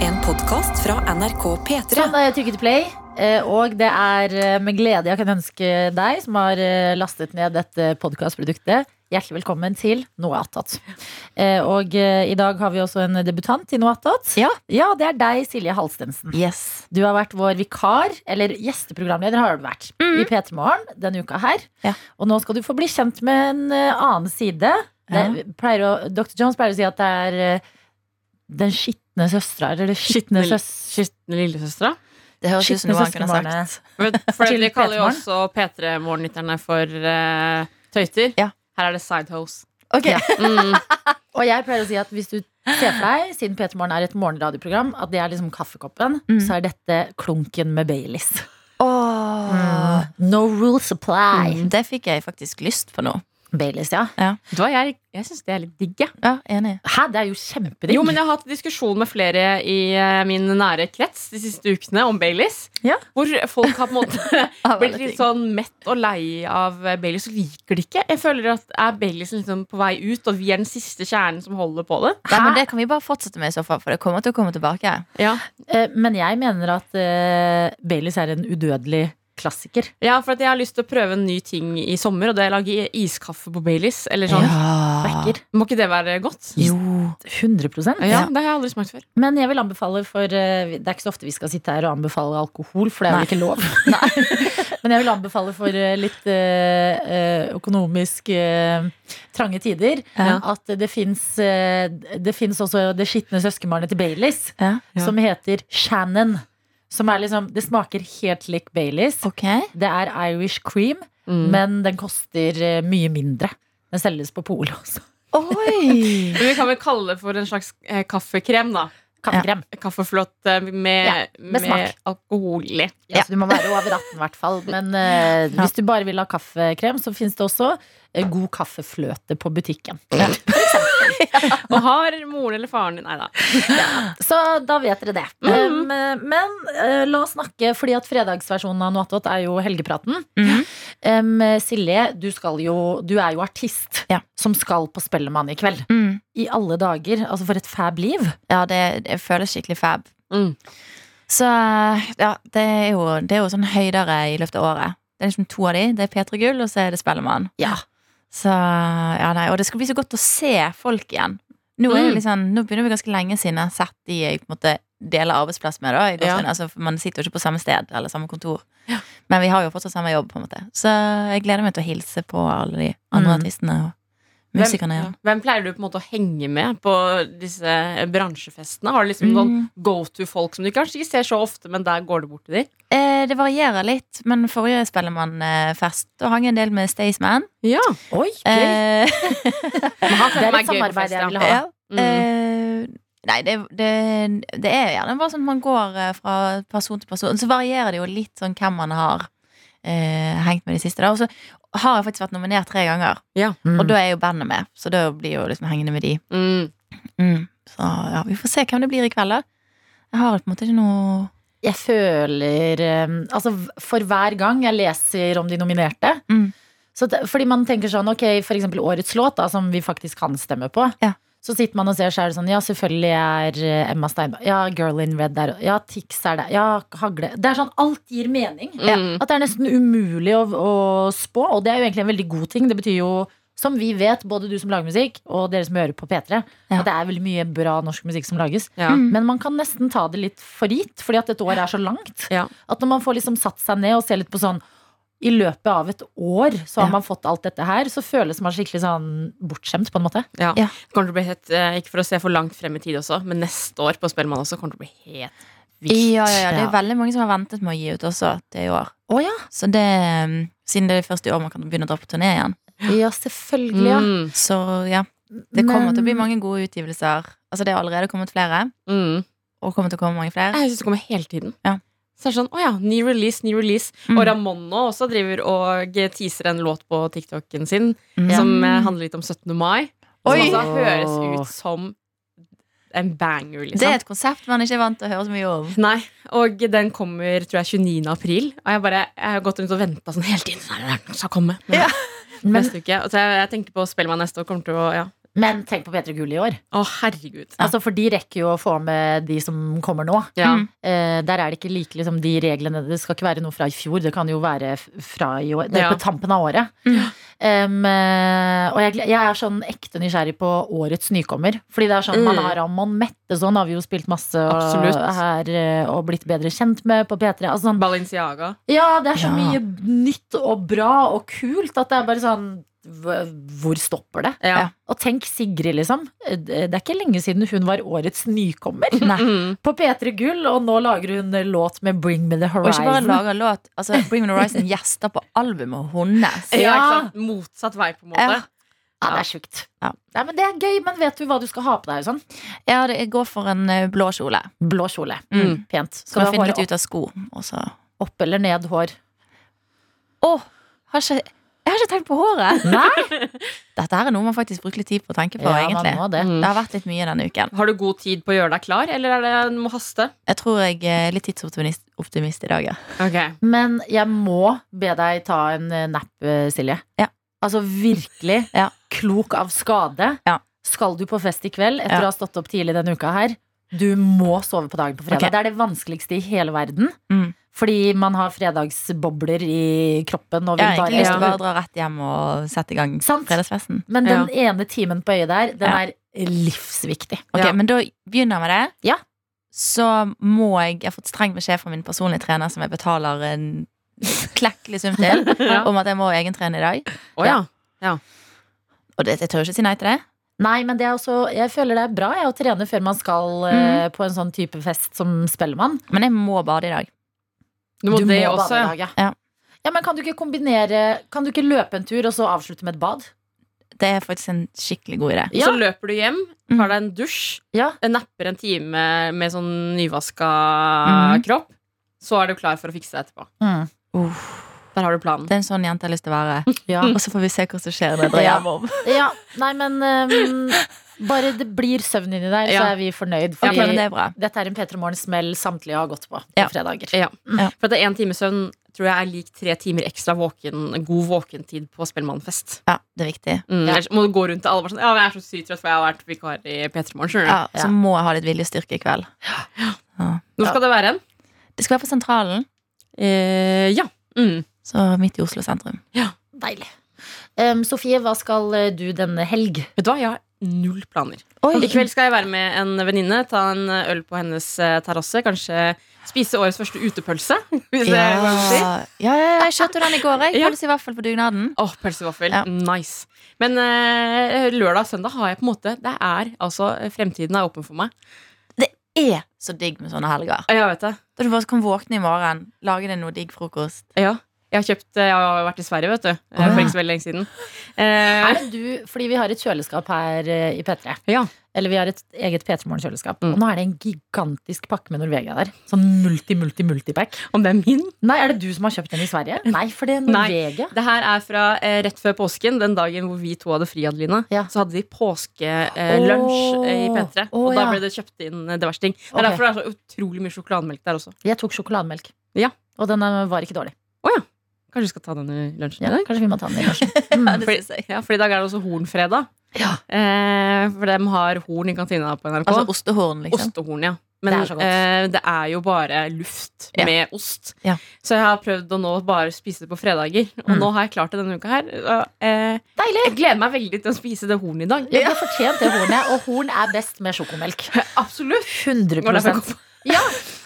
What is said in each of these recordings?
En podkast fra NRK P3. Sånn, da har jeg trykket play, eh, og det er eh, med glede jeg kan ønske deg som har eh, lastet ned dette podcastproduktet, hjertelig velkommen til Noe Attat. Eh, Og eh, i dag har vi også en debutant i Noe Attat. Ja. det er deg, Silje Halstensen. Yes. Du har vært vår vikar, eller gjesteprogramleder har du vært, i P3 Morgen denne uka her. Mm. Ja. Og nå skal du få bli kjent med en eh, annen side. Det, pleier å, Dr. Jones pleier å si at det er eh, den skitne søstra, eller skitne Skitne- søs... skit- Lillesøstera. Det høres ut som noe han kunne søskenbarnet. sagt. For Til vi kaller jo P3-morgen. også P3-morgenlytterne for eh, tøyter. Ja. Her er det sidehose. Ok. Ja. Mm. Og jeg pleier å si at hvis du ser for deg, siden P3 Morgen er et morgenradioprogram, at det er liksom kaffekoppen, Mm. så er dette klunken med Baileys. Åh. No rule supply. Mm, Det fikk jeg faktisk lyst på nå. Baileys, ja. Vet du hva, jeg jeg syns det er litt digg, jeg. Ja, enig. Hæ, det er jo kjempedigg. Jo, men jeg har hatt diskusjon med flere i eh, min nære krets de siste ukene om Baileys. Ja. Hvor folk har på en måte Av blitt alle ting. litt sånn mett og lei av eh, Baileys og liker det ikke. Jeg føler at er Baileys liksom på vei ut, og vi er den siste kjernen som holder på det. Nei, men det kan vi bare fortsette med i så fall, for det kommer til å komme tilbake. Ja, Eh, men jeg mener at eh, Baileys er en udødelig klassiker. ja for at jeg har lyst til å prøve en ny ting i sommer, og det er å lage iskaffe på Baileys. Eller sånn. Ja. Backer. Må ikke det være godt? Jo. 100 Ja, Det har jeg aldri smakt før. Men jeg vil anbefale, for eh, vi- det er ikke så ofte vi skal sitte her og anbefale alkohol, for det er Nei. vel ikke lov. Men jeg vil anbefale for eh, litt eh, eh, økonomisk eh, trange tider Ja. at det fins Det finnes også det skitne søskenbarnet til Baileys, Ja. Ja. som heter Shannon. Som er liksom Det smaker helt lik Baileys. Ok. Det er Irish cream, Mm. men den koster eh, mye mindre. Den selges på polet også. Oi. Men vi kan vel kalle det for en slags eh, kaffekrem, da. Kaffekrem. Kaffeflott eh, med, Ja, med smak. med alkohol i. Ja, så du må være over 18 i hvert fall. Men eh, Ja. hvis du bare vil ha kaffekrem, så fins det også eh, god kaffefløte på butikken. Og har moren eller faren din Nei da. Så da vet dere det. Mm. Mhm. Eh, men eh, la oss snakke, fordi at fredagsversjonen av Noatot er jo helgepraten. Mhm. Em, Silje, du, skal jo, du er jo artist Ja. som skal på Spellemann i kveld. Mm. I alle dager. Altså, for et fab liv. Ja, det, det føles skikkelig fab. Mm. Så ja, det er, jo, det er jo sånn høydere i løpet av året. Det er liksom to av de. Det er P3 Gull, og så er det Spellemann. Ja. Så, ja, nei, og det skal bli så godt å se folk igjen. Nå, er det Mm. liksom, nå begynner vi ganske lenge siden jeg har sett de jeg på en måte deler arbeidsplass med. Da, i Ja. gåsehud. altså, for man sitter jo ikke på samme sted eller samme kontor. Men vi har jo fortsatt samme jobb. på en måte Så jeg gleder meg til å hilse på alle de andre Mm. artistene og Hvem, musikerne ja. igjen. Hvem pleier du på en måte å henge med på disse eh, bransjefestene? Har du liksom noen Mm. go to-folk som du kanskje ikke ser så ofte, men der går du bort til dem? Eh, det varierer litt, men forrige Spellemannfest Da hang jeg en del med Staysman. Ja. Oi, gøy. Eh, det er et samarbeid jeg vil ha. ja. Mm. Eh, nei, det, det, det er jo gjerne bare sånn at man går eh, fra person til person. Så varierer det jo litt sånn hvem man har eh, hengt med de siste. da. Og så har jeg faktisk vært nominert tre ganger, Mm. og da er jo bandet med. Så da blir jo liksom hengende med de. Mm. Så ja, vi får se hvem det blir i kveld, da. Jeg har på en måte ikke noe Jeg føler eh, Altså, for hver gang jeg leser om de nominerte Mm. så det, Fordi man tenker sånn, ok, for eksempel årets låt, da, som vi faktisk kan stemme på. Ja. Så sitter man og ser seg sånn, ja, selvfølgelig er eh, Emma Steinberg Ja, Girl in Red der. Ja, Tix er der. Ja, Hagle. Det er sånn, alt gir mening. Mm. At det er nesten umulig å, å spå, og det er jo egentlig en veldig god ting. Det betyr jo, som vi vet, både du som lager musikk, og dere som hører på P3, Ja. at det er veldig mye bra norsk musikk som lages. Ja. Men man kan nesten ta det litt for gitt, fordi at et år er så langt. Ja. At når man får liksom satt seg ned og ser litt på sånn I løpet av et år så har Ja. man fått alt dette her, så føles man skikkelig sånn bortskjemt, på en måte. Ja. Ja. Det Kommer til å bli helt, eh, ikke for å se for langt frem i tid også, men neste år på Spellemann også kommer til å bli helt vilt. Ja, ja, ja, det er Ja. veldig mange som har ventet med å gi ut også til i år. Å ja. Så det, mm, siden det er først i år man kan begynne å dra på turné igjen. Ja, selvfølgelig, ja. Mm. Så ja, det kommer til å bli Men- mange gode utgivelser. Altså det er allerede kommet flere, Mm. og kommer til å komme mange flere. Jeg syns det kommer hele tiden. Ja. Så er det sånn, å ja, ny release, ny release. Mm. Og Ramondo også driver og teaser en låt på TikToken sin Mm. som eh, handler litt om 17. mai. Som Oi! altså høres ut som en banger, Det er liksom. et konsept man ikke er vant til å høre så mye om. Nei, og den kommer tror jeg 29. april. Og jeg, bare, jeg har gått rundt og venta sånn hele tiden. Sånn, den skal komme Ja. Men neste uke. Og så jeg, jeg tenker på Spellemann neste år. Kommer til å, ja, Men tenk på P3 Gull i år. Å, herregud. Altså, for de rekker jo å få med de som kommer nå. Ja. Mm. Eh, der er det ikke like liksom, de reglene Det skal ikke være noe fra i fjor, det kan jo være f- fra i år. Det er Ja. på tampen av året. Mm. Em, eh, og jeg, gle- jeg er sånn ekte nysgjerrig på årets nykommer. Fordi det er sånn, Mm. man har Amon Mette sånn, har vi jo spilt masse og, Absolutt. her eh, og blitt bedre kjent med på P3. Altså, sånn, Balenciaga. ja, det er så Ja. mye nytt og bra og kult at det er bare sånn hv- Hvor stopper det? Ja. Og tenk Sigrid, liksom. Det er ikke lenge siden hun var årets nykommer. Mm. På P3 Gull, og nå lager hun låt med Bring Me The Og ikke bare Horizon. lager låt. Altså, Bring Me The Horizon gjester på albumet hennes. Ja. Ja. ikke sant? Motsatt vei, på en måte. Ja. Ja, det er sjukt. Ja. Nei, men det er gøy, men vet du hva du skal ha på deg? og Sånn? Ja, det- jeg går for en eh, blå kjole. Blå kjole. Mm. Pent. Som Skal jeg du ha finner håret litt opp, ut av sko. Og så opp eller ned hår? Åh, har ikke, jeg har ikke tenkt på håret! Nei, Dette her er noe man faktisk bruker litt tid på å tenke på. ja, man egentlig må det. Mm. Det har vært litt mye denne uken. Har du god tid på å gjøre deg klar, eller er det du må haste? Jeg tror jeg er litt tidsoptimist optimist i dag, ja. Ok. Men jeg må be deg ta en eh, napp, eh, Silje. Ja. Altså virkelig Ja. klok av skade. Ja. Skal du på fest i kveld etter Ja. å ha stått opp tidlig denne uka her, du må sove på dagen på fredag. Ok. Det er det vanskeligste i hele verden. Mm. Fordi man har fredagsbobler i kroppen og Jeg vil har bare egentlig lyst til ja. å bare dra rett hjem og sette i gang Sant. fredagsfesten. Men den ene timen på øyet der, den Ja. er livsviktig. Ok, Ja. Men da begynner jeg med det. Ja. Så må jeg Jeg har fått streng beskjed fra min personlige trener, som jeg betaler en klekkelig sum til, Ja. om at jeg må egentrene i dag. Å ja. Og det, jeg tør jo ikke si nei til det. Nei, men det er også, jeg føler det er bra jeg, å trene før man skal eh, Mm. på en sånn type fest som Spellemann. Men jeg må bade i dag. Du må, det bade også, i ja. dag, ja. Ja. Ja, men kan du ikke kombinere Kan du ikke løpe en tur og så avslutte med et bad? Det er faktisk en skikkelig god idé. Ja. Så løper du hjem, tar deg en dusj, Ja. napper en time med sånn nyvaska Mhm. kropp, så er du klar for å fikse deg etterpå. Mm. Der har du planen. Det er en sånn jente jeg har lyst til å være. Ja. Og så får vi se hva som skjer når jeg drar Ja. hjem om. ja. Nei, men um, bare det blir søvn inni der, så Ja. er vi fornøyd. Ok, Fordi men det er bra. dette er en P3 Morgen-smell samtlige har gått på på Ja. fredager. Ja. Ja. For at én time søvn tror jeg er lik tre timer ekstra våken, god våkentid på Spellemannfest. Ja, det er viktig. Mm. Ja. Ellers må du gå rundt til alle og være sånn Ja, men jeg er så sykt trøtt, for jeg har vært vikar i P3 Morgen. skjønner du. Ja, Ja. så må jeg ha litt viljestyrke i kveld. Nå skal det være en. Det skal være på Sentralen, Eh, ja. Mm. så midt i Oslo sentrum. Deilig. Um, Sofie, hva skal eh, du denne helg? Vet du hva, jeg har null planer. Oi. I kveld skal jeg være med en venninne, ta en øl på hennes eh, terrasse. Kanskje spise årets første utepølse. Hvis det er lov å si. Ja, ja, ja, jeg kjøpte jo den i går. Jeg Ja. pølse i vaffel på dugnaden. Åh, pølsevaffel. Ja. Nice. Men eh, lørdag og søndag har jeg på en måte Det er altså Fremtiden er åpen for meg. Er så digg med sånne helger. Ja, Jeg vet det. Da du bare kan våkne i morgen, lage deg noe digg frokost. Ja. Jeg har kjøpt eh, Jeg har vært i Sverige, vet du. eh, Åh. For ikke så veldig lenge siden. Eh, Er det du, fordi vi har et kjøleskap her eh, i P3. Ja. Eller vi har et eget P3 Morgen-kjøleskap. Mm. Og nå er det en gigantisk pakke med Norvegia der. Sånn multi-multi-multipack. om det er min? Nei, er det du som har kjøpt den i Sverige? Nei, for det er Nei. Norvegia. Det her er fra eh, rett før påsken, den dagen hvor vi to hadde fri, Adelina. Ja. Så hadde de påskelunsj eh, lunsj, Åh. eh, i P3, Åh, og da ja. ble det kjøpt inn eh, diverse ting. Det er Ok. derfor det er så utrolig mye sjokolademelk der også. Jeg tok sjokolademelk. Ja. Og den eh, var ikke dårlig. Kanskje vi skal ta den i lunsjen Ja, i dag? kanskje vi må ta den i lunsjen. Mm. det Fordi, ja, for i dag er det også hornfredag. Ja. Eh, for de har horn i kantina på NRK. Altså ostehorn, liksom. Ostehorn, ja. Det Men det er så er, godt. eh, det er jo bare luft Ja. med ost. Ja. Så jeg har prøvd å nå bare spise det på fredager. Og Mm. nå har jeg klart det denne uka her. og, Eh, Deilig! jeg gleder meg veldig til å spise det hornet i dag. Ja, det fortjente hornet, og horn er best med sjokomelk. Absolutt. 100 Og derfor- Ja,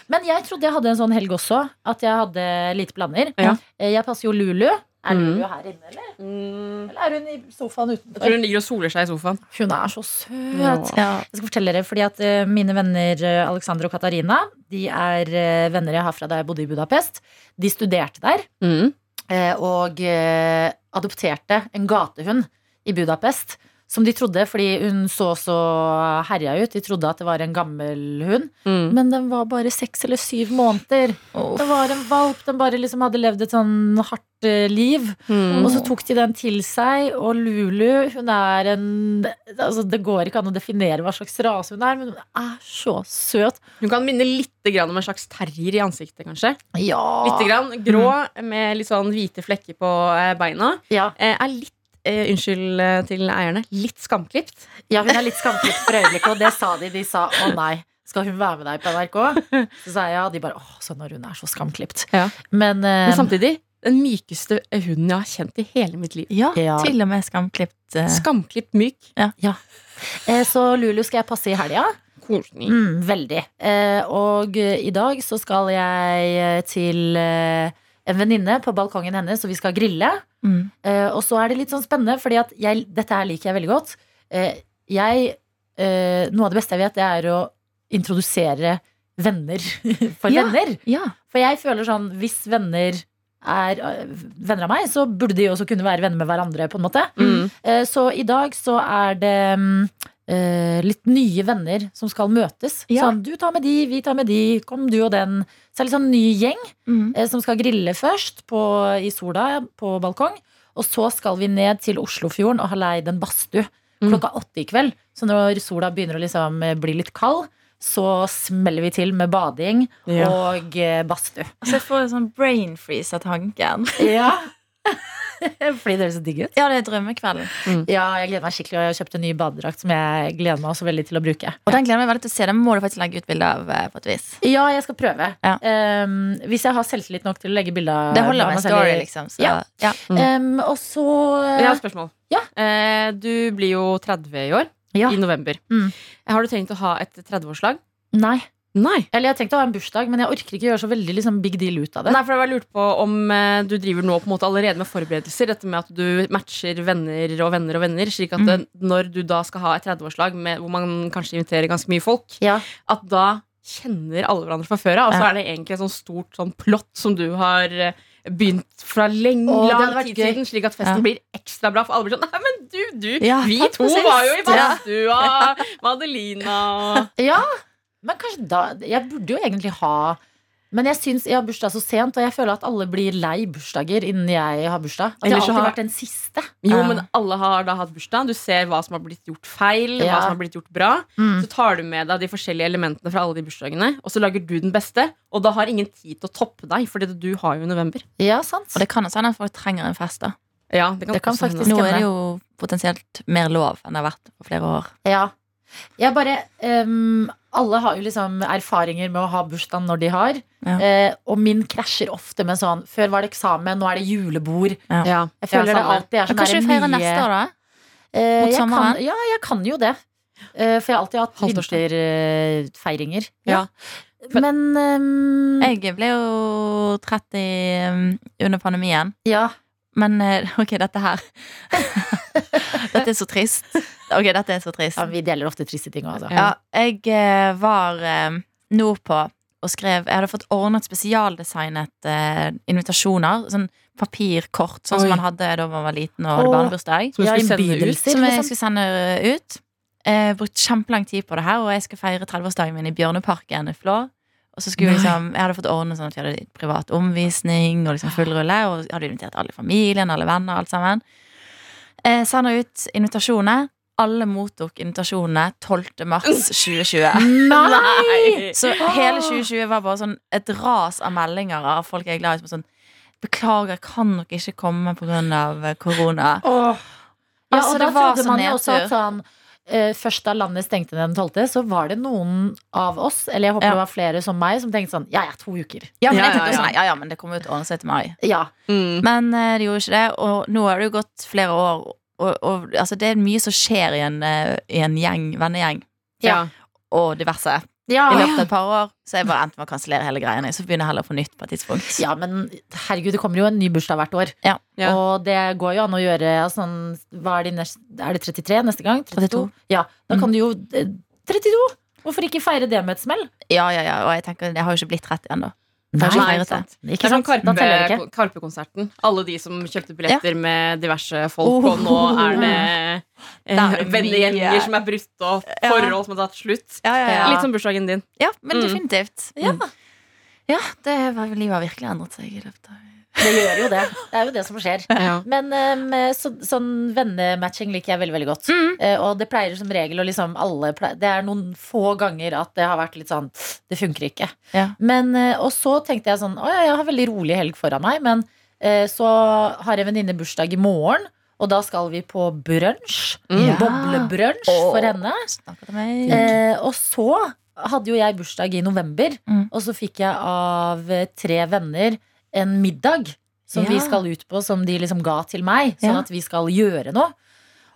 men jeg trodde jeg hadde en sånn helg også. At jeg hadde lite planer. Ja. Eh, Jeg passer jo Lulu. Er Mm. Lulu her inne, eller? Eller er hun i sofaen Jeg tror utenfor? hun ligger og soler seg i sofaen. Hun er så søt. Ja. Ja. Jeg skal fortelle dere, fordi at eh, Mine venner eh, Alexander og Katarina De er eh, venner jeg har fra da jeg bodde i Budapest. De studerte der eh, og eh, adopterte en gatehund i Budapest. Som de trodde, fordi hun så så herja ut. De trodde at det var en gammel hund. Mm. Men den var bare seks eller syv måneder. Uff. Det var en valp. Den bare liksom hadde levd et sånn hardt eh, liv. Mm. Og så tok de den til seg, og Lulu hun er en altså Det går ikke an å definere hva slags rase hun er, men hun er så søt. Hun kan minne litt grann om en slags terrier i ansiktet, kanskje. Ja. Ah. Litt grann, grå med litt sånn hvite flekker på eh, beina. ja. Eh, Er litt eh, unnskyld eh, til eierne, litt skamklipt. Ja, hun er litt skamklitt for øyeblikket, og det sa de. De sa å nei, skal hun være med deg på NRK? Så sa jeg ja. De bare åh, sånn når hun er så skamklipt. Ja. Men, eh, Men samtidig den mykeste hunden jeg har kjent i hele mitt liv. Ja, Ja. til og med skamklipt. eh, Skamklipt myk. eh, så Lulu skal jeg passe i helga. Koselig. Mm, veldig. Eh, og eh, i dag så skal jeg eh, til eh, en venninne på balkongen hennes, og vi skal grille. Mm. Eh, og så er det litt sånn spennende, fordi at jeg, dette her liker jeg veldig godt. Eh, jeg, eh, noe av det beste jeg vet, det er å introdusere venner for Ja. venner. Ja. For jeg føler sånn, hvis venner er eh, venner av meg, så burde de også kunne være venner med hverandre, på en måte. Mm. Eh, Så i dag så er det mm, eh, litt nye venner som skal møtes. Ja. Sånn, du tar med de, vi tar med de, kom du og den. Så er det litt sånn ny gjeng Mm. eh, som skal grille først på, i sola på balkong. Og så skal vi ned til Oslofjorden og ha leid en badstue Mm. klokka åtte i kveld. Så når sola begynner å liksom eh, bli litt kald, så smeller vi til med bading Ja. og eh, badstue. Altså, jeg får en sånn brain freeze av tanken. Ja. Fordi det høres så digg ut. Ja, det er drømmekvelden. Ja, jeg gleder meg skikkelig, og jeg har kjøpt en ny badedrakt som jeg gleder meg også veldig til å bruke. Og den gleder jeg meg veldig til å se. Den må du faktisk legge ut bilde av. eh, på et vis Ja, jeg skal prøve. Ja. Um, hvis jeg har selvtillit nok til å legge bilde av Det holder av med meg en selv story, i- liksom. Så, Ja. ja. Um, og så Jeg har et spørsmål. Ja. Eh, du blir jo 30 i år. Ja. I november. Mm. Har du tenkt å ha et 30-årslag? Nei. Nei. Eller jeg har tenkt å ha en bursdag, men jeg orker ikke gjøre så veldig liksom, big deal ut av det. Nei, for jeg var lurt på om eh, du driver nå på en måte allerede med forberedelser. Dette med at du matcher venner og venner og venner. Slik at Mm. eh, når du da skal ha et 30-årslag med- hvor man kanskje inviterer ganske mye folk, Ja. at da kjenner alle hverandre fra før av. Og så Ja. er det egentlig et sånt stort sånn plott som du har eh, begynt fra lenge Å, det lang hadde vært tid gøy. siden, slik at festen Ja. blir ekstra bra. For alle blir sånn Nei, men du, du! Ja, vi takk for to sist. var jo i Ja. badstua! Madelina og ja, men kanskje da Jeg burde jo egentlig ha men jeg syns jeg har bursdag så sent, og jeg føler at alle blir lei bursdager innen jeg har bursdag. At jeg har Ellers så alltid har- vært den siste. Jo, Ja. men alle har da hatt bursdag. Du ser hva som har blitt gjort feil, Ja. hva som har blitt gjort bra. Mm. Så tar du med deg de forskjellige elementene fra alle de bursdagene, og så lager du den beste, og da har ingen tid til å toppe deg, fordi du har jo november. Ja, sant. Og det kan også hende at folk trenger en fest. da Ja, det kan, Det kan også hende. faktisk- Nå er stemmer. det jo potensielt mer lov enn det har vært på flere år. Ja. Jeg bare ehm, Alle har jo liksom erfaringer med å ha bursdag når de har. Ja. Eh, og min krasjer ofte med sånn Før var det eksamen, nå er det julebord. Ja, Jeg føler det alltid er Men sånn kanskje der vi feirer mye- neste år, da? Eh, mot jeg sommeren? Kan, ja, jeg kan jo det. Eh, for jeg har alltid hatt Halvtårsdag. vinterfeiringer. Ja. Men ehm, Jeg ble jo 30 um, under pandemien. Ja. Men eh, ok, dette her Dette er så trist. Ok, dette er så trist. ja, vi deler ofte triste ting òg, altså. Ja, jeg eh, var eh, nordpå og skrev Jeg hadde fått ordnet spesialdesignet eh, invitasjoner. Sånn papirkort, sånn Oi. som man hadde da man var liten og hadde Åh. barnebursdag. Som du Ja, skulle sende ut. innbydelser, Som jeg liksom. skulle sende ut. Eh, brukt kjempelang tid på det her, og jeg skal feire 30-årsdagen min i Bjørneparken i Flå. Og så skulle vi Nei. liksom, Jeg hadde fått ordnet sånn at vi hadde litt privat omvisning og liksom full rulle. Og jeg hadde invitert alle i familien, alle venner, alt sammen. Eh, sender ut invitasjoner. Alle mottok invitasjonene 12. mars 2020. Nei! Så hele 2020 var bare sånn et ras av meldinger av folk jeg er glad i. Som er sånn Beklager, kan dere ikke komme pga. eh, korona? Åh. Ja, Altså, og da det var trodde så man jo også nedtur. at sånn eh, Først da landet stengte den 12., så var det noen av oss, eller jeg håper Ja. det var flere som meg, som tenkte sånn Ja, ja, to uker. Ja, men Ja, jeg tenkte ja, også ja. nei, ja, ja, men det kommer jo til å ordne seg til mai. Ja. Mm. Men eh, det gjorde ikke det, og nå har det jo gått flere år, og, og altså, det er mye som skjer i en, eh, i en gjeng, vennegjeng. Ja. Og diverse. Ja, I løpet av et par år Så jeg bare endte med å kansellere hele greiene. Så begynner jeg heller på nytt på et tidspunkt. Ja, men herregud, det kommer jo en ny bursdag hvert år. Ja. Ja. Og det går jo an å gjøre altså, sånn, hva er, de nest, er det 33 neste gang? 32? Ja, da Mhm. kan du jo eh, 32! Hvorfor ikke feire det med et smell? Ja, ja, ja, Og jeg tenker, jeg har jo ikke blitt 30 ennå. Nei, Kanskje Nei, feiret det. sant. Det Ikke er sånn sant? Da teller det ikke. Karpe- Karpe-konserten. Alle de som kjøpte billetter med diverse folk, og nå er det Da er eh, det mye. vennegjenger som er brutt opp, Ja. forhold som har tatt slutt. Ja, ja, ja. Litt som bursdagen din. ja men Mm. definitivt. Ja. ja, det var, livet har virkelig endret seg i løpet av Det gjør jo det. Det er jo det som skjer. Ja. Men ehm, så, sånn vennematching liker jeg veldig veldig godt. Eh, og det pleier som regel å liksom alle ple- Det er noen få ganger at det har vært litt sånn Det funker ikke. Ja. Men, eh, og så tenkte jeg sånn Å ja, jeg har veldig rolig helg foran meg, men eh, så har jeg venninne bursdag i morgen. Og da skal vi på brunsj. Mm. Ja. Boblebrunsj Åh. for henne. Snakker til meg. Eh, og så hadde jo jeg bursdag i november, Mm. og så fikk jeg av eh, tre venner en middag som Ja. vi skal ut på, som de liksom ga til meg, sånn Ja. at vi skal gjøre noe.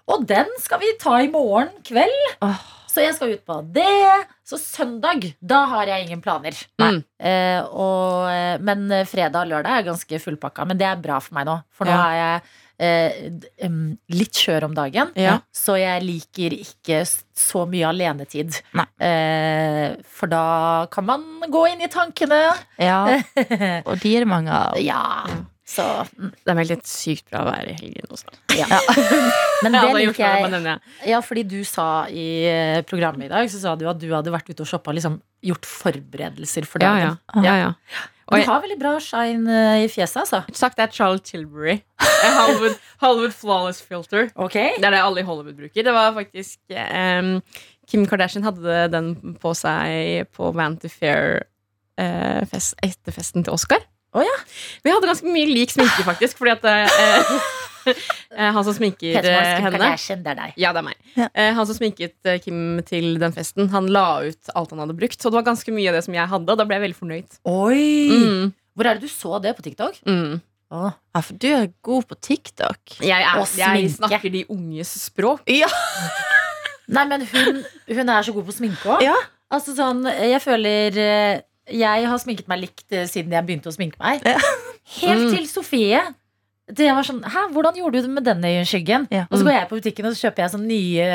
Og den skal vi ta i morgen kveld. Åh. Så jeg skal ut på det. Så søndag, da har jeg ingen planer. Mm. Eh, og, eh, men eh, fredag og lørdag er ganske fullpakka. Men det er bra for meg nå, for nå Ja. er jeg eh, d- em, litt skjør om dagen. Ja. Så jeg liker ikke s- så mye alenetid. Nei. Eh, for da kan man gå inn i tankene. Ja. Og de er det mange av. Ja. Så mm, Det er meldt et sykt bra vær i helgen også. ja. Men det hadde liker gjort det, jeg. bare nevner jeg. Ja, fordi du sa i eh, programmet i dag Så sa du at du hadde vært ute og shoppa, liksom gjort forberedelser for Ja, dagen. ja. ja, ja. Og jeg- Du har veldig bra shine eh, i fjeset, altså. Sagt er Charlotte Tilbury. Hollywood, Hollywood Flawless Filter. Det er det alle i Hollywood bruker. Det var faktisk ehm, Kim Kardashian hadde den på seg på Vanity Fair eh, fest, etter festen til Oscar. Å ja. Vi hadde ganske mye lik sminke, faktisk. Fordi at eh, eh, han som sminker Peter eh, Marsken henne Kardashian, det er deg. ja, det er meg. Ja. Eh, han som sminket eh, Kim til den festen, han la ut alt han hadde brukt. Så det var ganske mye av det som jeg hadde, og da ble jeg veldig fornøyd. Oi! Mm, Hvor er det du så det på TikTok? mm. Åh. Ja, for du er god på TikTok. Jeg, er, Og jeg sminke. snakker de unges språk. Nei, men hun, hun er så god på sminke òg. Ja. Altså sånn, jeg føler eh, Jeg har sminket meg likt eh, siden jeg begynte å sminke meg. Ja. Helt Mm. til Sofie. Det var sånn, Hæ, hvordan gjorde du det med den øyenskyggen? Ja. Mm. Og så går jeg på butikken og så kjøper jeg sånn nye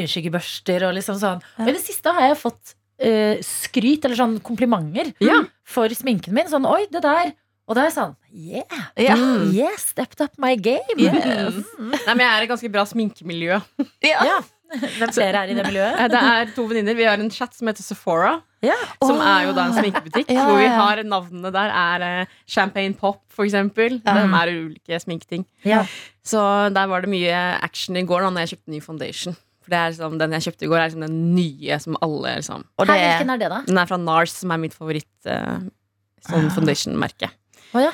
øyenskyggebørster. Og liksom sånn. Og i det siste har jeg fått eh, skryt eller sånn komplimenter Ja. for sminken min. Sånn, oi, det der. Og da er jeg sånn Yeah, Ja. Mm. yeah, stepped up my game. Yes. Mm. Nei, men jeg er et ganske bra sminkemiljø. Ja. Ja. Hvem flere er i det miljøet? Eh, Det er to venninner. Vi har en chat som heter Sephora. Ja. Som Åh. er jo da en sminkebutikk. Ja, Hvor vi ja, ja. har navnene der er eh, Champagne Pop, for eksempel. Ja. De er ulike sminketing. Ja. Så der var det mye action i går da når jeg kjøpte ny foundation. For det er liksom, Den jeg kjøpte i går, er liksom den nye som alle liksom. Og Hæ, det er hvilken er det, da? Den er fra Nars, som er mitt favoritt eh, sånn Ah. foundation-merke. Å ja.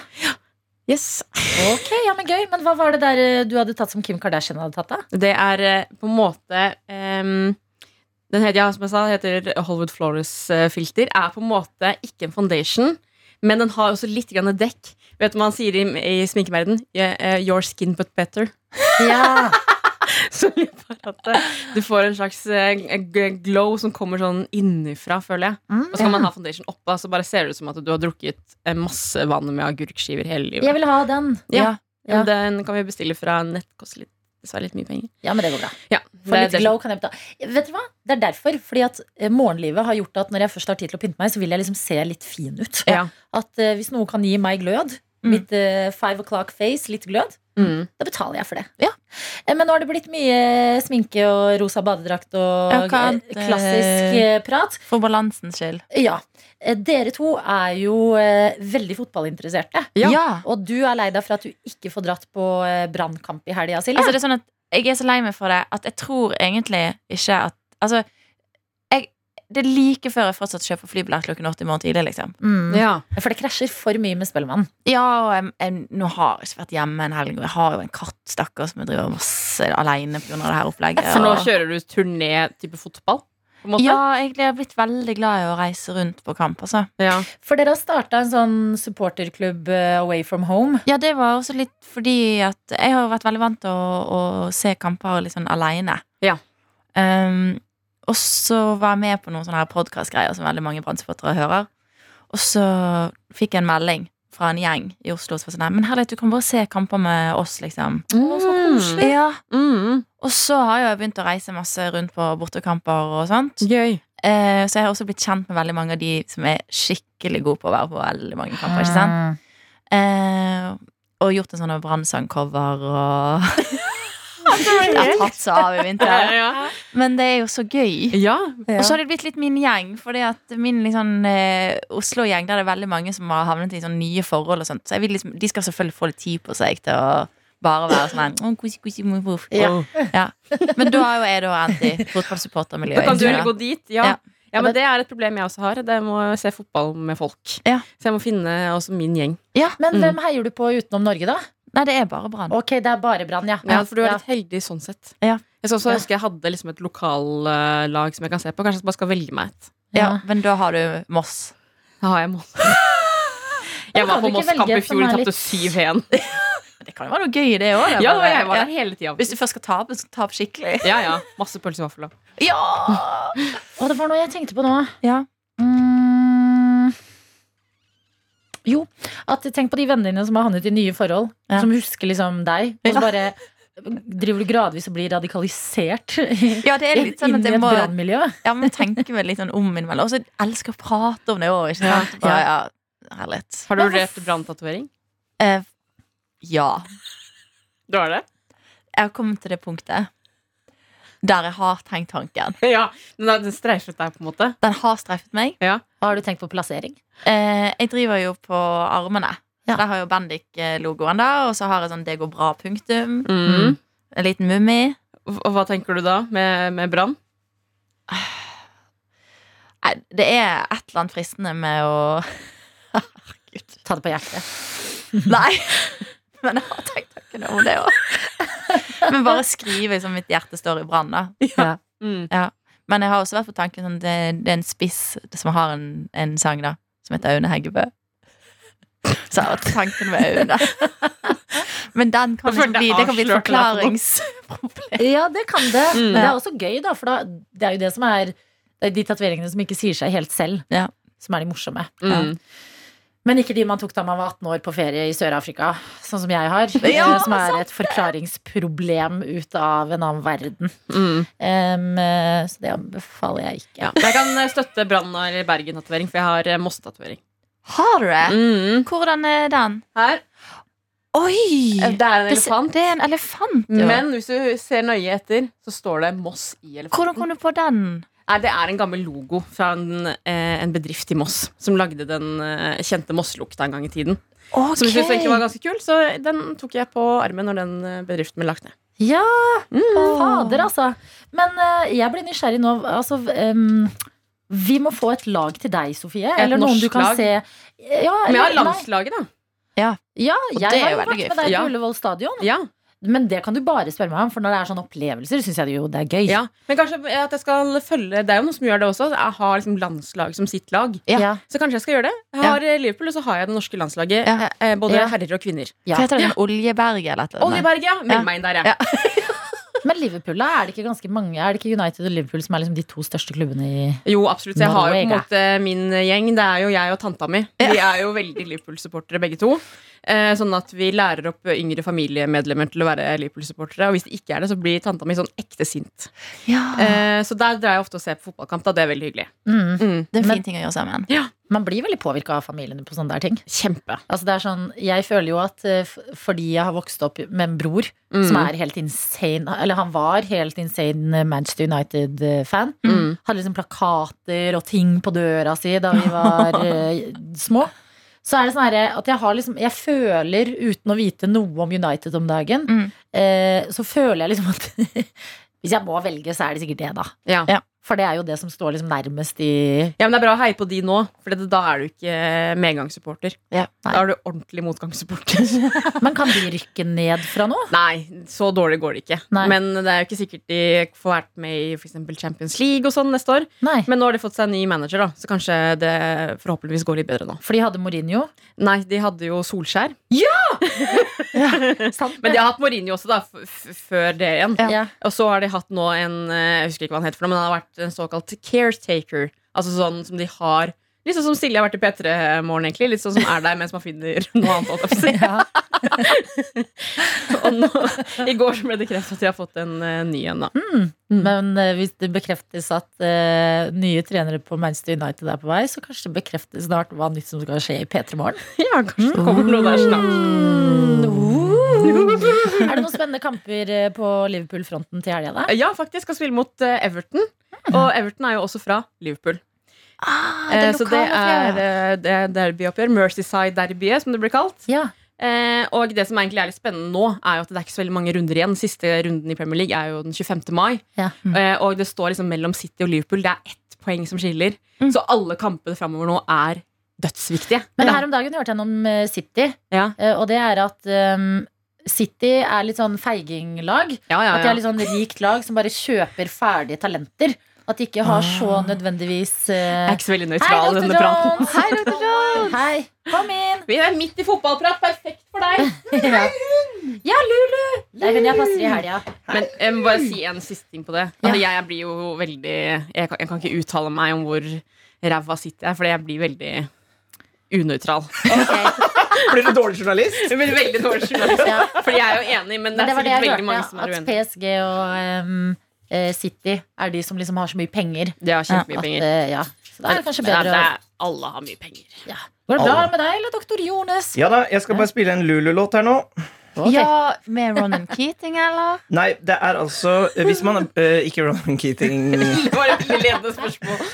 Yes. Ok, ja, Men gøy. Men hva var det der eh, du hadde tatt som Kim Kardashian hadde tatt, da? Det er eh, på en måte ehm, Den heter, ja, som jeg sa, heter Hollywood Flawless eh, Filter. Er på en måte ikke en foundation, men den har også litt grann dekk. Vet du hva man sier i, i sminkeverden? Yeah, eh, your skin but better. Ja. Så litt for at eh, du får en slags eh, g- glow som kommer sånn innifra, føler jeg. Mm. Og så kan man ha foundation oppå, så bare ser det ut som at du har drukket eh, masse vann med agurkskiver hele livet. Jeg vil ha den. Ja. ja. Men Den kan vi bestille fra nett. Koster litt, dessverre litt mye penger. Ja, men det går bra. Ja, For det er litt glow kan jeg betale. Vet du hva? Det er derfor. Fordi at eh, morgenlivet har gjort at når jeg først har tid til å pynte meg, så vil jeg liksom se litt fin ut. Ja. At eh, hvis noe kan gi meg glød, Mm. mitt eh, five o'clock face, litt glød, Mm. da betaler jeg for det. Ja. Eh, Men nå har det blitt mye sminke og rosa badedrakt og Ja, hva eh, annet, eh, klassisk eh, prat. For balansens skyld. Ja. Eh, Dere to er jo eh, veldig fotballinteresserte. Ja. Og du er lei deg for at du ikke får dratt på eh, brannkamp i helga, Silje. Altså, det er sånn at jeg er så lei meg for det at jeg tror egentlig ikke at Altså, jeg, det er like før jeg fortsatt kjøper flybillett klokken åtte i morgen tidlig, liksom. mm. Ja. For det krasjer for mye med Spellemann. Ja, og jeg, jeg, nå har jeg ikke vært hjemme en helg, og jeg har jo en katt, stakkar, som jeg driver masse aleine pga. det her opplegget. For nå og- kjører du turné type fotball? På en måte? Ja, egentlig har jeg blitt veldig glad i å reise rundt på kamp, altså. Ja. For dere har starta en sånn supporterklubb eh, away from home. Ja, det var også litt fordi at jeg har vært veldig vant til å, å se kamper litt sånn aleine. Ja. Ehm, og så var jeg med på noen sånne her podkastgreier som veldig mange brannsupportere hører. Og så fikk jeg en melding fra en gjeng i Oslo som var sånn «Nei, Men herlighet, du kan bare se kamper med oss, liksom. Å, så koselig. Ja. Mm. Og så har jo jeg begynt å reise masse rundt på bortekamper og sånt. Gøy. Eh, så jeg har også blitt kjent med veldig mange av de som er skikkelig gode på å være på veldig mange kamper. ikke sant? Ah. Eh, og gjort en sånn brannsangcover og Jeg har tatt så av i vinter. Ja. Men det er jo så gøy. ja. Og så har det blitt litt min gjeng. Fordi at min liksom, eh, Oslo-gjeng Der er det veldig mange som har havnet i sånn nye forhold. Og sånt. Så jeg vil liksom, De skal selvfølgelig få litt tid på seg til å bare være sånn her, «Åh, kusi, kusi, mu, puff». Ja. Ja. Men da er jo jeg da endt i Da fotballsupportermiljøet. kan du heller gå dit. Ja. Ja. ja, men Det er et problem jeg også har. Det er å se fotball med folk. Ja. Så jeg må finne også min gjeng. Ja. Men Mm. hvem heier du på utenom Norge, da? Nei, det er bare brann. Ok, det er bare brann, ja. Ja, for du er Ja. litt heldig sånn sett. Ja. Jeg så også Ja. ønske jeg hadde liksom et lokallag som jeg kan se på. Kanskje jeg bare skal velge meg et. Ja, men da har du Moss. Da har jeg Moss. Jeg kan var på du ikke Moss-kamp velge i et som fjor er og litt- tapte 7-1. Det kan jo være noe gøy i det òg. Ja, og jeg var der hele tida. Hvis du først skal tape, så tap skikkelig. Ja, ja. Masse pølse i vaffel. da. Ja! Å, det var noe jeg tenkte på nå. ja. Mm. Jo, at tenk på de vennene dine som har havnet i nye forhold. Ja. Som husker liksom deg. Og Ja. så bare driver du gradvis og blir radikalisert ja, det er litt sånn inn at i jeg et må brannmiljø. ja, men tenke meg litt sånn om innimellom. Og så elsker jeg å prate om det òg, ikke sant? Ja. Bare, ja, herlighet. Har du vurdert branntatovering? Eh, ja. Du har det? Jeg har kommet til det punktet der jeg har tenkt tanken. Ja. Den, er- den streifet deg, på en måte. Den har streifet meg. Har du tenkt på plassering? Eh, jeg driver jo på armene. Ja. Der har jeg jo Bendik-logoen, da. Og så har jeg sånn 'det går bra'-punktum. Mm. En liten mummi. Og og hva tenker du da med, med brann? Nei, det er et eller annet fristende med å Herregud. Ta det på hjertet. Nei. Men jeg har tenkt tanken om det òg. Men bare skrive som mitt hjerte står i brann, da. Ja. Mm. Men jeg har også vært på tanken sånn, det, det er en spiss som har en, en sang da som heter Aune Heggebø. Så jeg har vært tanken med Aune. Men den kan Jeg liksom følte bli, jeg det kan bli et avslørte deg forklaringsproblem. ja, det kan det. Mm. Men det er også gøy, da. For da, det er jo det som er det er de tatoveringene som ikke sier seg helt selv, Ja. som er de morsomme. Mm. Men ikke de man tok da man var 18 år på ferie i Sør-Afrika, sånn som jeg har. Ja, eh, som er et forklaringsproblem ut av en annen verden. Mm. Em, eh, så det anbefaler jeg ikke. Ja. Men Jeg kan eh, støtte brann- eller Bergen-tatovering, for jeg har eh, Moss-tatovering. Har du det? Mm. Hvordan er den? Her. Oi! Det er en Det, ser- elefant. det er en elefant, jo. Men hvis du ser nøye etter, så står det Moss i elefanten. Hvordan kom du på den? Nei, det er en gammel logo fra en, eh, en bedrift i Moss som lagde den eh, kjente Moss-lukta en gang i tiden. Som jeg synes egentlig var ganske kul, så den tok jeg på armen når den eh, bedriften ble lagt ned. Ja, Åh. fader, altså. Men eh, jeg blir nysgjerrig nå. Altså, em, vi må få et lag til deg, Sofie. eller noen norsk du kan lag? se. Ja, Men jeg har eller- landslaget, da. nei. Ja, Og jeg det er har jo jo veldig vært gøy, med deg ja. på Ullevål stadion. Ja. Men det kan du bare spørre meg om, for når det er sånne opplevelser, syns jeg det jo det er gøy. ja. Men kanskje eh, at jeg skal følge Det er jo noen som gjør det også. Jeg har liksom landslag som sitt lag. Ja. Ja. Så kanskje jeg skal gjøre det. Jeg har eh, Liverpool, og så har jeg det norske landslaget. Ja. eh, Både Ja. herrer og kvinner. Ja. Hva heter den? Oljeberget eller et eller annet? Oljeberg, ja. Ja. Meld meg inn der, jeg. Ja. Men Liverpool, da er det ikke ganske mange Er det ikke United og Liverpool som er liksom de to største klubbene i Jo, absolutt. Så jeg har jo på en Norway, måte min gjeng. Det er jo jeg og tanta mi. Vi er jo veldig Liverpool-supportere begge to. Eh, Sånn at vi lærer opp yngre familiemedlemmer til å være Liverpool-supportere. Og hvis de ikke er det, så blir tanta mi sånn ekte sint. Ja, Eh, Så der drar jeg ofte og ser på fotballkamp. Da. Det er veldig hyggelig. mm. Mm. det er en men- fin ting å gjøre sammen. Man blir veldig påvirka av familiene på sånne der ting. Kjempe. Altså det er sånn, Jeg føler jo at eh, f- fordi jeg har vokst opp med en bror Mm. som er helt insane Eller han var helt insane eh, Manchester United-fan. Mm. Hadde liksom plakater og ting på døra si da vi var eh, små. Så er det sånn herre at jeg har liksom Jeg føler, uten å vite noe om United om dagen, Mm. eh, så føler jeg liksom at Hvis jeg må velge, så er det sikkert det, da. Ja. Ja. For det er jo det som står liksom nærmest i ja, men Det er bra å heie på de nå, for det, da er du ikke medgangssupporter. Ja. Nei. Da er du ordentlig motgangssupporter. Men kan de rykke ned fra nå? Nei, så dårlig går det ikke. Nei. Men det er jo ikke sikkert de får vært med i for eksempel Champions League og sånn neste år. Nei. Men nå har de fått seg en ny manager, da, så kanskje det forhåpentligvis går litt bedre nå. For de hadde Mourinho. Nei, de hadde jo Solskjær. Sant? Men de har hatt Mourinho også, da, f f før det igjen. Ja. ja. Og så har de hatt nå en eh, Jeg husker ikke hva han heter, for noe, men han har vært en såkalt caretaker. Altså sånn som de har Litt sånn som Silje har vært i P3 Morgen, egentlig. Litt sånn som er der mens man finner noe annet. holdt jeg på å si. Ja. Og nå, I går så ble det kreft at de har fått en eh, ny en, Mm. da. Men eh, hvis det bekreftes at eh, nye trenere på Manchester United er på vei, så kanskje det bekreftes snart hva nytt som skal skje i P3 Morgen. Ja, kanskje det kommer noe der snart. Mm. Er det noen spennende kamper eh, på Liverpool-fronten til helga, da? Ja, faktisk. Skal spille mot eh, Everton. Og Everton er jo også fra Liverpool. Mm. Ah, det Eh, er så det er, lokale eh, det er derbyoppgjør. Mercyside-derbyet, som det blir kalt. Ja. Eh, og det som egentlig er litt spennende nå, er jo at det er ikke så veldig mange runder igjen. Siste runden i Premier League er jo den 25. mai. Ja. Eh, og det står liksom mellom City og Liverpool. Det er ett poeng som skiller. Mm. Så alle kampene framover nå er dødsviktige. Men her om dagen hørte jeg noe om eh, City, Ja. eh, og det er at eh, City er litt sånn feiginglag. Ja, ja, At de ja. er litt sånn rikt lag som bare kjøper ferdige talenter. At de ikke har så Ah. nødvendigvis Jeg eh, er ikke så veldig Hei, nøytral i Dr. denne praten. Jones! Hei, Dr. Jones! Hei, kom inn! Vi er midt i fotballprat. Perfekt for deg. Ja, ja Lulu! Det er hun jeg passer i helga. Men jeg må bare si en siste ting på det. At jeg, jeg blir jo veldig jeg kan, jeg kan ikke uttale meg om hvor ræva City er, fordi jeg blir veldig unøytral. Ok, Blir du dårlig journalist? Jeg blir veldig dårlig journalist. ja. Fordi jeg er jo enig, men det Men er det var det sikkert jeg veldig mange hørte, som er at uenig. PSG og em, eh, City er de som liksom har så mye penger. Det har kjempemye At, penger. eh, ja. Så da er det kanskje Men bedre det å er, alle har mye penger. Går det bra Alle. med deg, eller doktor Jones? Ja da, jeg skal bare spille en Lulu-låt her nå. Ok. Ja, med Ronan Keating, eller? Nei, det er altså Hvis man eh, Ikke Ronan Keating. Du Det var et veldig ledende spørsmål.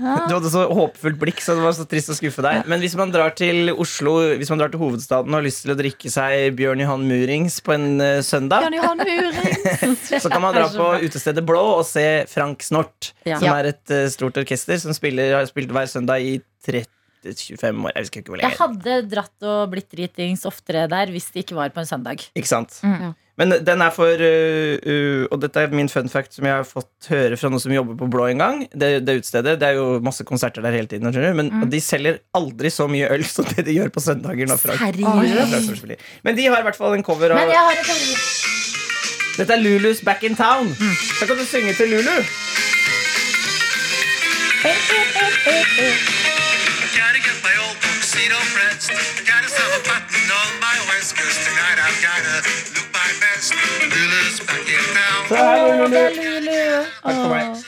hadde så håpefullt blikk, så det var så trist å skuffe deg. Men hvis man drar til Oslo, hvis man drar til hovedstaden og har lyst til å drikke seg Bjørn Johan Murings på en eh, søndag, Jan Johan Muring. så kan man dra så på utestedet Blå og se Frank Snort, Ja. som Ja. er et eh, stort orkester som spiller, har spilt hver søndag i 30-25 år. Jeg husker ikke hvor Jeg lenge. hadde dratt og blitt dritings oftere der hvis det ikke var på en søndag. Ikke sant? Mm. Ja. Men den er for uh, uh, Og dette er min fun fact som jeg har fått høre fra noen som jobber på Blå en gang. Det, det utestedet. Det er jo masse konserter der hele tiden, skjønner du, men Mm. de selger aldri så mye øl som det de gjør på søndager. Nå, Frank. Seriøst? Frank som spiller. Men de har i hvert fall en cover Men av jeg har en teori. Dette er Lulus Back in Town. Så kan du synge til Lulu. Gotta get my old tuxedo pressed. Got us have a button on my waist. 'cause tonight I've gotta look my best. Lulu's back in town. Så her er Å, det er Lulu. Lulu. Takk for meg.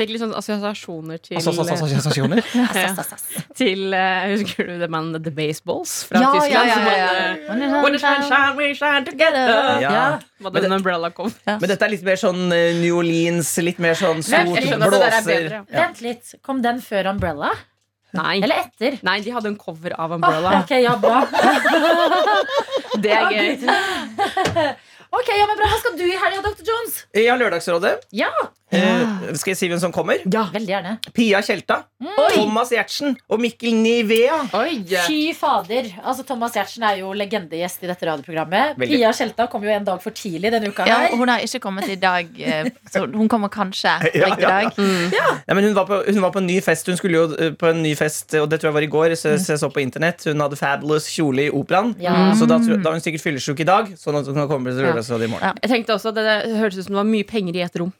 Fikk litt sånn assosiasjoner til Altså, altså, altså, assosiasjoner. Ja. Til eh, Husker du det bandet The Baseballs fra Ja, ja, Tyskland? ja, som ja, hadde- ja. When the sun shine, we shine together. Ja. Ja. Var det en umbrella kom? Men dette er litt mer sånn eh, New Orleans, litt mer sånn stort Jeg skjønner at det der er blåser. bedre. Vent litt. Kom den før Umbrella? Nei. Eller etter? Ah, Nei, de hadde en cover av Umbrella. Ok, ja, bra. Det er gøy. Ok, ja, men bra. Hva skal du i helga, Dr. Jones? Jeg har Lørdagsrådet. Ja, Eh, skal jeg si hvem som kommer? Veldig gjerne. Pia Tjelta, Thomas Giertsen og Mikkel Nivea. Oi. Fy fader. Altså, Thomas Giertsen er jo legendegjest i dette radioprogrammet. Veldig. Pia Tjelta kom jo en dag for tidlig denne uka. Ja, her hun har ikke kommet i dag. eh, Så hun kommer kanskje på Ja, riktig ja, ja. dag. Nei, men hun, var på, hun var på en ny fest. Hun skulle jo eh, på en ny fest, og det tror jeg var i går. Så, så jeg så på internett Hun hadde fabulous kjole i operaen. Mm. Ja. Så da, tror- da er hun sikkert fyllesyk i dag, sånn at hun kan komme til Lørdagsrådet i morgen. Jeg tenkte også at Det det hørtes ut som det var mye penger i et rom.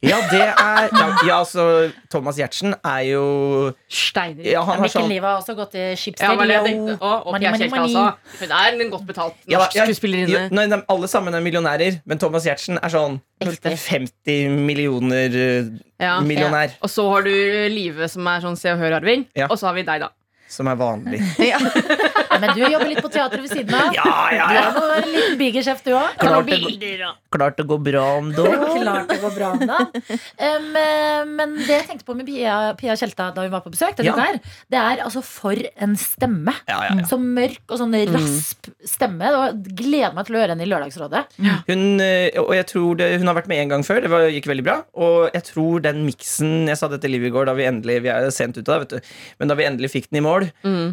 Ja, det er Ja, ja altså Thomas Giertsen er jo Steiner. Ja, han har Mikkel sånn Liva har også gått i Ja, Schibsted. men jeg Jo. tenkte, å, og Money, Pia money, Kjelke, money. altså. Hun er en godt betalt ja, norsk ja, skuespillerinne. ja, nei, de- alle sammen er millionærer, men Thomas Giertsen er sånn Ekte. 50 millioner eh, Ja. millionær, Og så har du Live, som er sånn Se og Hør-arving. Ja. Og så har vi deg, da. som er vanlig. Ja. Ja, Men du jobber litt på teatret ved siden av. Ja, ja, Du ja! er nå en liten bigerchef, du òg. Klart det, går- klart det går bra om dagen. Klart det går bra om dagen. Um, eh, men det jeg tenkte på med Pia, Pia Tjelta da hun var på besøk, denne Ja. uka her, det er altså for en stemme. Ja, ja, Mm. ja. Så mørk og sånn rasp stemme. Og gleder meg til å høre henne i Lørdagsrådet. Hun, eh, og jeg tror det, hun har vært med en gang før, det var, gikk veldig bra. Og jeg tror den miksen Jeg sa det til Liv i går, da vi endelig Vi er jo sent ute, da, vet du. Men da vi endelig fikk den i mål,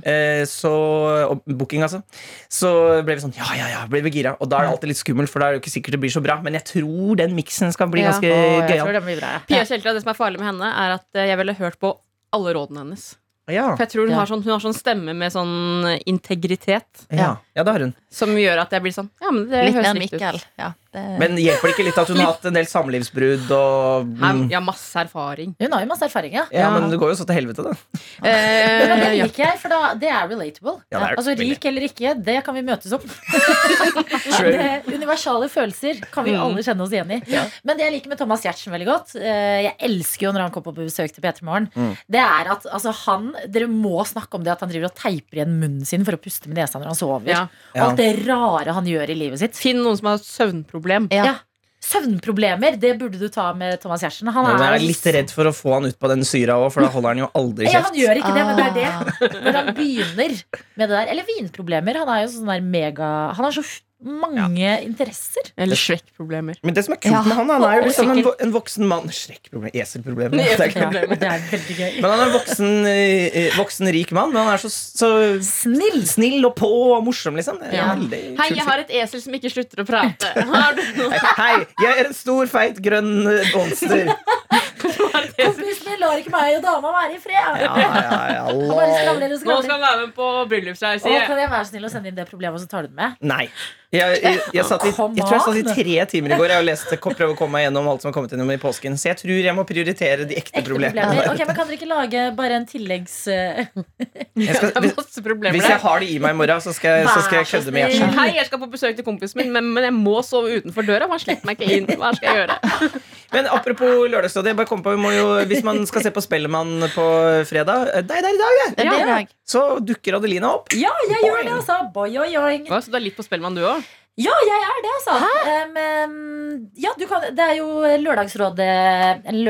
eh, så og Booking, altså. Så ble vi sånn Ja, ja, ja. Ble vi gira. Og da er det alltid litt skummelt, for da er det jo ikke sikkert det blir så bra. Men jeg tror den miksen skal bli Ja. ganske Og jeg gøyal. tror det blir bra. Pia Kjelke, det som er farlig med henne, er at eh, jeg ville hørt på alle rådene hennes. Ja, For jeg tror hun, Ja. har sånn, hun har sånn stemme med sånn integritet ja, ja, det har hun. som gjør at jeg blir sånn Ja, men det Litt høres mer riktig Mikkel. ut. Ja, det, Men hjelper det ikke litt at hun har hatt en del samlivsbrudd og Her, mm, jeg har masse erfaring. Hun har jo masse erfaring, ja. Ja, men det går jo så til helvete, da. Eh, Men det ja. liker jeg, for da, det er relatable. Ja, det er altså veldig. Rik eller ikke, det kan vi møtes om. True. Det, universale følelser kan vi Mm. alle kjenne oss igjen i. Ja. Men det jeg liker med Thomas Giertsen veldig godt, eh, jeg elsker jo når han kom på besøk til P3 Morgen, Mm. det er at altså, han Dere må snakke om det at han driver og teiper igjen munnen sin for å puste med nesa når han sover. Ja. Og Alt det rare han gjør i livet sitt. Finn noen som har søvnproblem. Ja. Ja. Søvnproblemer, det burde du ta med Thomas Giertsen. Han Men jeg er er litt redd for å få han ut på den syra òg, for da holder han jo aldri Ja, han kjeft. gjør ikke det, men det er det. Ah. Når han begynner med det der Eller vinproblemer. Han er jo sånn der mega Han har så f- mange interesser. Eller Shrek-problemer. Men det som er kult Ja. med han, han er jo Og liksom en, sikkert- vo- en voksen mann Skrekkproblem, eselproblem Ja, det er ikke- problemer. Det er veldig gøy. Men han er en voksen, eh, eh, voksen rik mann, men han er så, så Snill! snill og på og morsom, liksom. Det er Ja. veldig Hei, kul jeg har et esel som ikke slutter å prate. Har du noe? fyr. Hei, jeg er en stor, feit, grønn eh, monster. Kompisen min lar ikke meg og dama være i fred. Ja, ja, ja, Han bare la. skravler og Nå skravler. skal han være med på bryllupsreise. Å, kan jeg være snill og sende inn det problemet, og så tar du det med? Nei. Jeg, jeg, jeg, satt i, jeg Come tror jeg satt i on. tre timer i går Jeg har lest, prøvd å komme meg gjennom alt som har kommet gjennom i påsken. Så jeg tror jeg må prioritere de ekte Ekte problemene. problemer. Ok, men Kan dere ikke lage bare en tilleggs... eh, Jeg Det skal, er hvis, masse problemer hvis jeg der. har det i meg i morgen, så skal jeg, så skal jeg kødde med hjertet. Hei, jeg skal på besøk til kompisen min, men, men jeg må sove utenfor døra. Han slipper meg ikke inn. Hva skal jeg gjøre? Men apropos lørdagsrådet. jeg bare kom på, vi må jo, Hvis man skal se på Spellemann på fredag eh, Det er der i dag, jeg! Det er det i dag. Så dukker Adelina opp. Ja, jeg gjør det, altså! Boing, boing. Hva, så du er litt på Spellemann, du òg? Ja, jeg er det, altså. Em, em, ja, du kan, det er jo lørdagsrådet En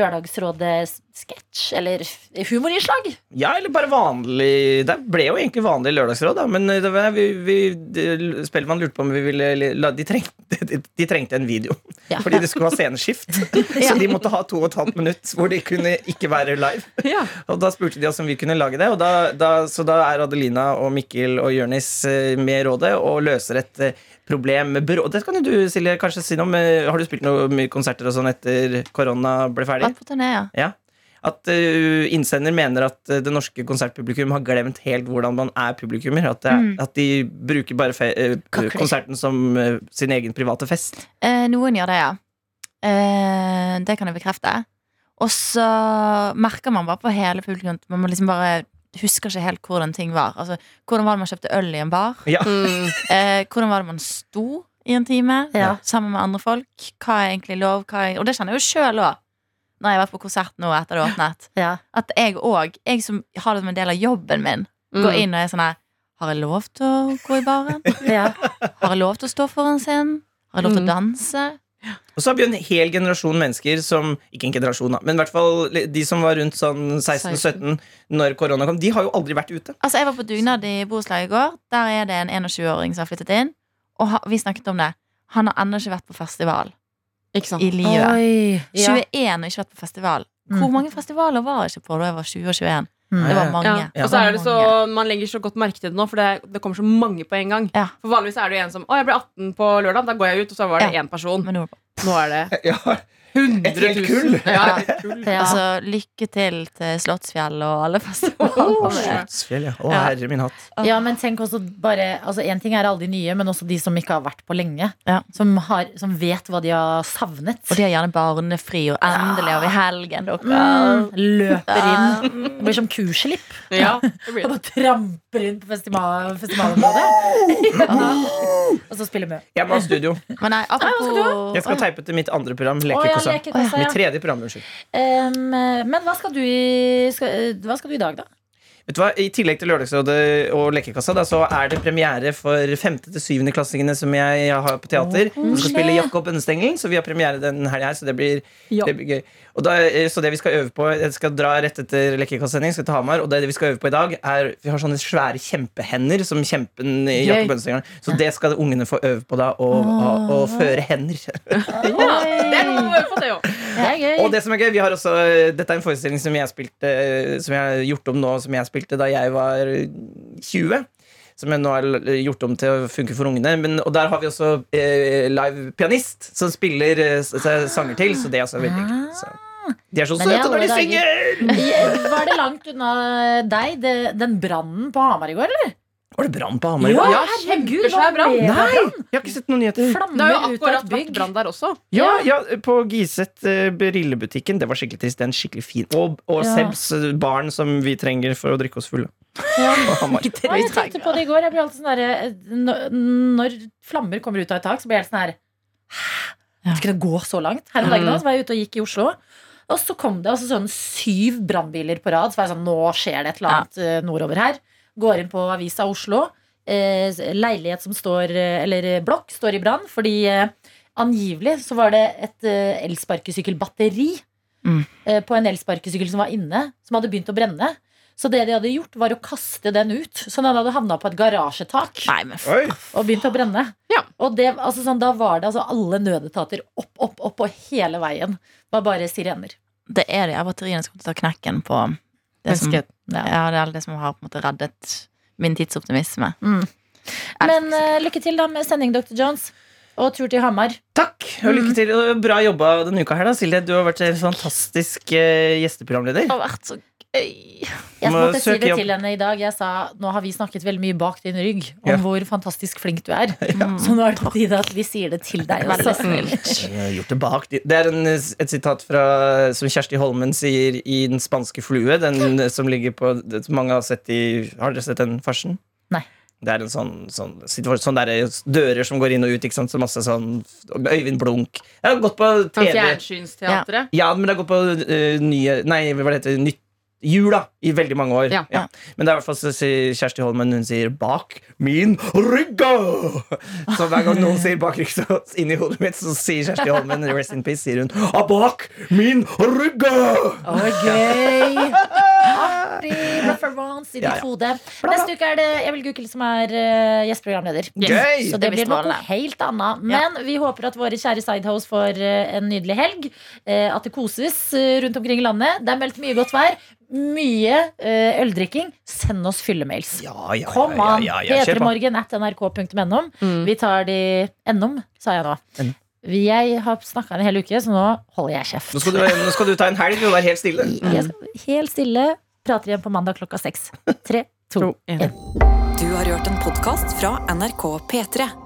lørdagsrådesketsj, eller humorinnslag. Ja, eller bare vanlig Det ble jo egentlig vanlig lørdagsråd, da. Men eh, det var, vi, vi, det- Spellemann lurte på om vi ville la, de, trengte, de, de trengte en video. Ja. Fordi de skulle ha sceneskift. Så de måtte ha to og et halvt minutt hvor de kunne ikke være live. Ja. Og da spurte de oss om vi kunne lage det. Og da, da, så da er Adelina og Mikkel og Jørnis eh, med i rådet og løser et eh, problem med brå... Det kan jo du, Silje, kanskje si noe om. eh, Har du spilt noe mye konserter og sånn etter korona ble ferdig? Vært på turné, ja. Ja. At eh, innsender mener at eh, det norske konsertpublikum har glemt helt hvordan man er publikummer. At, det, er- at de bruker bare fe eh, Kakler. konserten som eh, sin egen private fest. Eh, noen gjør det, ja. Eh, det kan jeg bekrefte. Og så merker man bare på hele publikum at Man må liksom bare husker ikke helt hvordan ting var. Altså, Hvordan var det man kjøpte øl i en bar? Ja. Mm. Eh, hvordan var det man sto i en time Ja. sammen med andre folk? Hva er egentlig lov? Hva er, og det kjenner jeg jo sjøl òg, når jeg har vært på konsert nå etter det har åpnet. Ja. At jeg òg, jeg som har det som en del av jobben min, mm. går inn og er sånn her Har jeg lov til å gå i baren? Mm. Ja. Har jeg lov til å stå foran scenen? Har jeg lov til Mm. å danse? Og så har vi jo en hel generasjon mennesker som Ikke en generasjon, da, men i hvert fall de som var rundt sånn 16-17 når korona kom, de har jo aldri vært ute. Altså, jeg var på dugnad i borettslaget i går. Der er det en 21-åring som har flyttet inn. Og ha, vi snakket om det. Han har ennå ikke vært på festival Ikke sant? i livet. Ja. 21 og ikke vært på festival. Hvor Mm. mange festivaler var jeg ikke på da jeg var 20 og 21? Mm. Det var mange. Ja. Og så er det så, Man legger så godt merke til det nå, for det, det kommer så mange på en gang. Ja. For Vanligvis er det jo en som Å, jeg ble 18 på lørdag, da går jeg ut. Og så var det én person. Men nå, Nå er det Ja, 100 Et helt 000. kull. Ja, et helt kull. Ja. altså, lykke til til Slottsfjell og alle Oh, festivaler. shit. Slottsfjell, ja. Å, Ja. herre min hatt. Ja, men tenk også bare altså En ting er alle de nye, men også de som ikke har vært på lenge. Ja. Som, har, som vet hva de har savnet. Og de har gjerne barnefri, og endelig har vi helgen, dere. Mm, løper inn. Det blir som kuslipp. Ja, det blir Og det. bare tramper inn på festival, festivalområdet. og så spiller vi. Jeg må ha studio. Men nei, apropos Jeg skal teipe til mitt andre program, Å, ja, Lekekåsa. Lekekåsa, ja. Mitt tredje program, unnskyld. Em, men hva skal, du i, skal, eh, hva skal du i dag, da? Vet du hva, I tillegg til Lørdagsrådet og Lekekassa da, Så er det premiere for 5.-7.-klassingene som jeg har på teater. Vi skal spille Jakob Ønstengelen, så vi har premiere den helga her. Så det blir, Ja. det blir gøy. Og da, eh, så det vi skal øve på Jeg skal dra rett etter Lekekassasending, skal til Hamar. Og det vi skal øve på i dag, er Vi har sånne svære kjempehender som kjempen i Jakob Ønstengelen. Så det skal ungene få øve på da, å, å, å føre hender. Ja, det er noe på det òg. Det er gøy. Og det som er gøy, vi har også Dette er en forestilling som jeg spilte eh, Som jeg har gjort om nå, som jeg spilte da jeg var 20 som jeg nå har l- gjort om til å funke for ungene. Men, og der har vi også eh, live pianist som spiller eh, s- s- sanger til, så det er også veldig gøy. Så. De er så Ah. Men det er søte når de alle synger! I- Var det langt unna deg, det, den brannen på Hamar i går, eller? Var det brann på Hamar? i går? Ja, kjempesvær brann. Nei! Jeg har ikke sett noen nyheter. Det har jo Flammer ut av akkurat et vært bygg. brann der også. Ja, ja, På Giseth eh, brillebutikken. Det var skikkelig trist. Det er en skikkelig fin Og, og Ja. Sebs eh, barn som vi trenger for å drikke oss fulle. På Hamar. Ja, jeg tenkte på det i går. Jeg ble alltid sånn der, når, når flammer kommer ut av et tak, så blir jeg helt sånn her Hæ? Skal det gå så langt? Her om dagen også, så var jeg ute og gikk i Oslo. Og så kom det altså sånn syv brannbiler på rad. Så var jeg sånn, nå skjer det et eller annet eh, nordover her. Går inn på Avisa Oslo. Eh, leilighet som står, eh, eller eh, blokk, står i brann. Fordi eh, angivelig så var det et eh, elsparkesykkelbatteri Mm. eh, på en elsparkesykkel som var inne, som hadde begynt å brenne. Så det de hadde gjort, var å kaste den ut. Så den hadde havna på et garasjetak Nei, men f... Oi. og begynt å brenne. Ja. Og det, altså, sånn, da var det altså, alle nødetater opp, opp, opp og hele veien. Var bare sirener. det er de av batteriene som kommer til å ta knekken på det som, ja, Mennesket. Ja. det er det som har på en måte reddet min tidsoptimisme. Men eh, lykke til da med sending, Dr. Jones. Og tur til Hamar. Takk, og lykke til. Og Bra jobba denne uka her, da, Silje. Du har vært en fantastisk eh, gjesteprogramleder. Det har vært så gøy. Jeg Må måtte si søke det jobb. til henne i dag. Jeg sa nå har vi snakket veldig mye bak din rygg om Ja. hvor fantastisk flink du er. Så nå er det på tide at vi sier det til deg også. Mm. Veldig snilt. Jeg har gjort Det bak de- Det er en, et sitat fra, som Kjersti Holmen sier i Den spanske flue. Den som ligger på det- Mange har sett i Har dere sett den farsen? Nei. Det er en sånn, sånn, situasjon- sånn der, dører som går inn og ut. Ikke sant? Så masse sånn Øyvind Blunk. Jeg har gått på Sånn TV. Fjernsynsteatret. Ja, men det har gått på eh, nye Nei, hva heter det? Nytt Jula i veldig mange år. Ja. Men det er i hvert fall så sier Kjersti Holmen hun sier 'bak min rygg'. Så hver gang noen sier 'bak rygg', så inni hodet mitt, så sier Kjersti Holmen rest in peace, sier hun «Ah, 'bak min rygg'. Å, gøy! Artig referanse i Ja, ditt ja. hode. Neste uke er det Emil Gukild som er uh, gjesteprogramleder. Gøy! Så Det det blir blir noe strålende. helt annet. Men vi håper at våre kjære sidehose får eh, en nydelig helg. eh, At det koses eh, rundt omkring i landet. Det er meldt mye godt vær. Mye eh, øldrikking. Send oss fyllemails. Ja, ja, ja, Kom ja, an! ja, ja, kjør på. P3morgen at nrk.no. Mm. Vi tar de Ennom, sa jeg nå. Mm. Jeg har snakka en hel uke, så nå holder jeg kjeft. Nå skal, du, nå skal du ta en helg og være helt stille. Jeg skal helt stille. Prater igjen på mandag klokka seks. Tre, to, To, en. Du har hørt en podkast fra NRK P3.